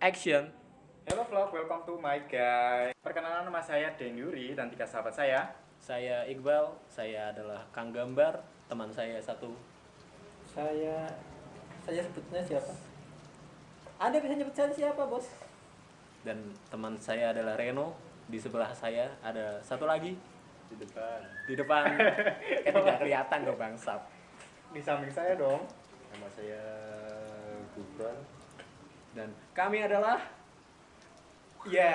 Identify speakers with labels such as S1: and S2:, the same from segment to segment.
S1: Action.
S2: Hello vlog, welcome to my guys. Perkenalan nama saya Den Yuri dan tiga sahabat saya.
S1: Saya Iqbal, saya adalah Kang Gambar, teman saya satu.
S3: saya saya sebutnya siapa anda bisa nyebut saya siapa bos
S1: Dan teman saya adalah Reno. Di sebelah saya ada satu lagi
S2: Di depan.
S1: di depan. eh tidak kelihatan dong bangsat.
S2: Di samping saya dong.
S4: Nama saya Gubran.
S1: Dan kami adalah
S2: Iya.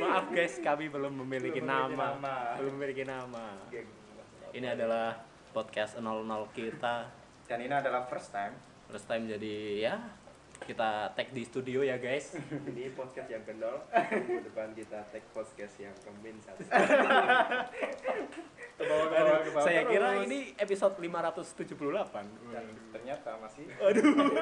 S1: Maaf guys, kami belum memiliki,
S2: Belum memiliki
S1: nama.
S2: nama.
S1: Belum memiliki nama. Ini adalah podcast 00 kita.
S2: Dan ini adalah first time
S1: First time jadi ya kita tag di studio ya guys.
S4: Ini podcast yang ke nol. Minggu depan kita take podcast yang kemin satu.
S2: ke bawah ke bawah ke
S1: Aduh,
S2: bawah
S1: saya
S2: terus.
S1: kira ini episode 578.
S2: Dan ternyata masih.
S1: Aduh.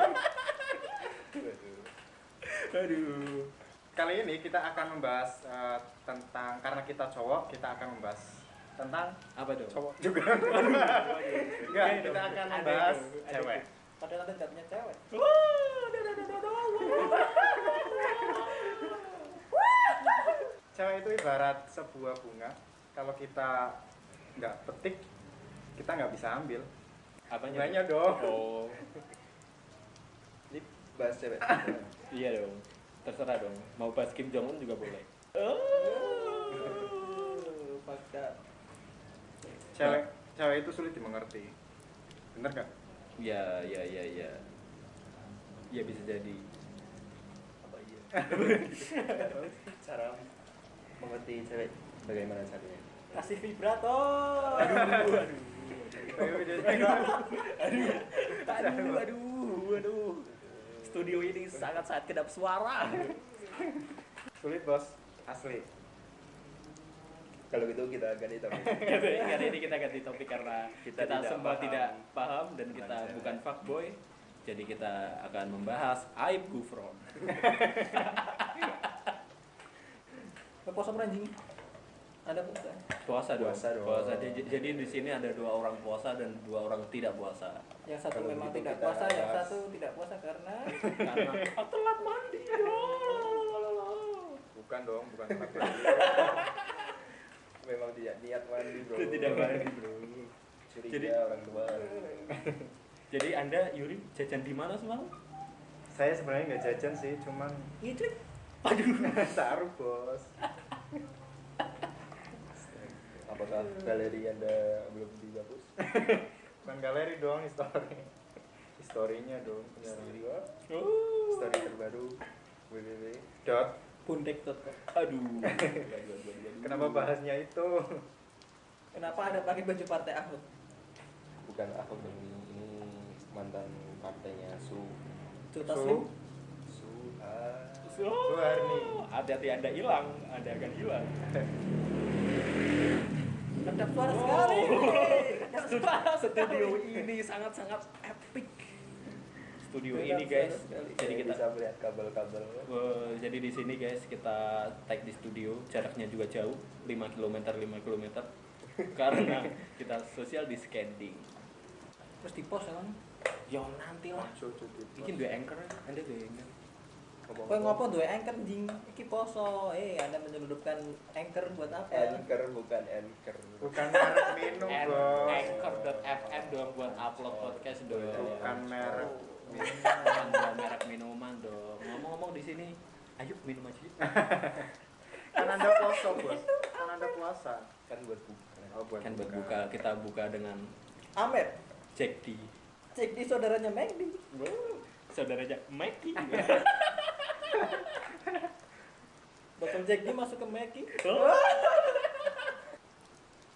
S2: Kali ini kita akan membahas eh, tentang karena kita cowok kita akan membahas tentang
S1: Apa dong?
S2: cowok juga. Enggak, kita akan
S3: Ada
S2: membahas
S3: itu, ada
S2: cewek.
S3: itu. padahal anda nggak punya cewek
S2: Cewek itu ibarat sebuah bunga. Kalau kita nggak petik, kita nggak bisa ambil.
S1: Apanya?
S2: Nanya dong.
S1: Oh,
S4: Ini bahas cewek.
S1: iya dong. Terserah dong. Mau bahas Kim Jong Un juga boleh. Oh.
S3: Eh, fakta
S2: Cewek cewek itu sulit dimengerti. Bener nggak?
S1: Ya, ya, ya, ya. Ya bisa jadi.
S4: Apa iya? Cara mengerti cewek bagaimana caranya?
S3: kasih vibrato
S1: Aduh, aduh, aduh. Studio ini sangat-sangat kedap suara.
S2: sulit bos asli.
S4: Kalau gitu kita ganti topik.
S1: Karena ini kita ganti topik karena kita,
S4: Kita tidak
S1: semua
S4: paham.
S1: tidak paham dan kita
S4: Tentang
S1: bukan fuckboy. Jadi kita akan membahas aib Gufron.
S3: lepas sama anjing anda bukan
S1: Puasa dong.
S4: Puasa dong.
S1: Puasa. Jadi, jadi di sini ada dua orang puasa dan dua orang tidak puasa.
S3: yang satu
S4: Kalau
S3: memang
S4: gitu
S3: tidak
S4: kita
S3: puasa yang
S4: bahas.
S3: satu tidak puasa karena
S1: Karena "Ah, telat mandi. loh."
S2: Bukan dong, bukan tempat
S4: Memang tidak niat mandi bro.
S1: Tidak mandi,
S4: bro. Curiga
S1: Jadi-
S4: orang tua.
S1: Jadi Anda Yuri jajan di mana semalam?
S2: Saya sebenarnya nggak jajan sih, cuman
S3: ngiclik
S2: taruh bos.
S4: Apakah galeri anda belum dihapus?
S2: Bukan galeri dong, history. Historinya dong. History.
S1: Oh.
S4: Story terbaru. www.
S2: Dot.
S3: bundek tot
S1: Aduh.
S2: Kenapa bahasnya itu?
S3: kenapa anda pakai baju partai Ahmad
S4: Bukan aku ini, ini mantan partainya Su.
S3: Juta
S2: Su.
S3: slim
S4: Suha.
S2: Warni.
S1: Hati-hati Anda hilang, Anda akan hilang.
S3: kedap suara
S4: Oh.
S3: sekali kedap suara
S1: Studio ini sangat-sangat epic. Studio ini guys. Jadi kita
S4: bisa melihat kabel-kabel.
S1: Eh, jadi di sini guys kita tag di studio jaraknya juga jauh 5 km 5 km karena kita social distancing
S3: terus kan? di pos emang
S1: ya nanti lah bikin dua anchor anda dua anchor
S3: Kowe ngopo duwe anchor anjing? Iki poso. Eh, Anda menyelundupkan anchor buat apa?
S4: Anchor bukan anchor.
S2: Bukan merek minum
S1: An-
S2: bos.
S1: anchor.fm dong buat upload podcast dong
S2: Bukan merek.
S1: Bukan buat merek minuman dong ngomong-ngomong di sini ayo minum aja yuk.
S2: Kan anda puasa bos. Kan anda puasa.
S4: Kan buat bukan.
S2: Oh, buat
S1: kan buat buka kita buka dengan
S3: Amer,
S1: Jack D
S3: cek di saudaranya Mengdi.
S1: Wow, saudaranya Mikey
S3: Botol Jack di masuk ke Meki.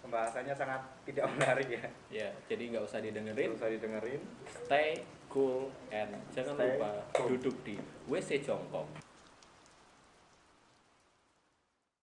S2: Pembahasannya sangat tidak menarik ya.
S1: ya jadi nggak usah didengerin
S2: Tidak usah didengerin.
S1: stay cool and jangan
S2: Stay
S1: lupa
S2: cool.
S1: duduk di WC jongkok.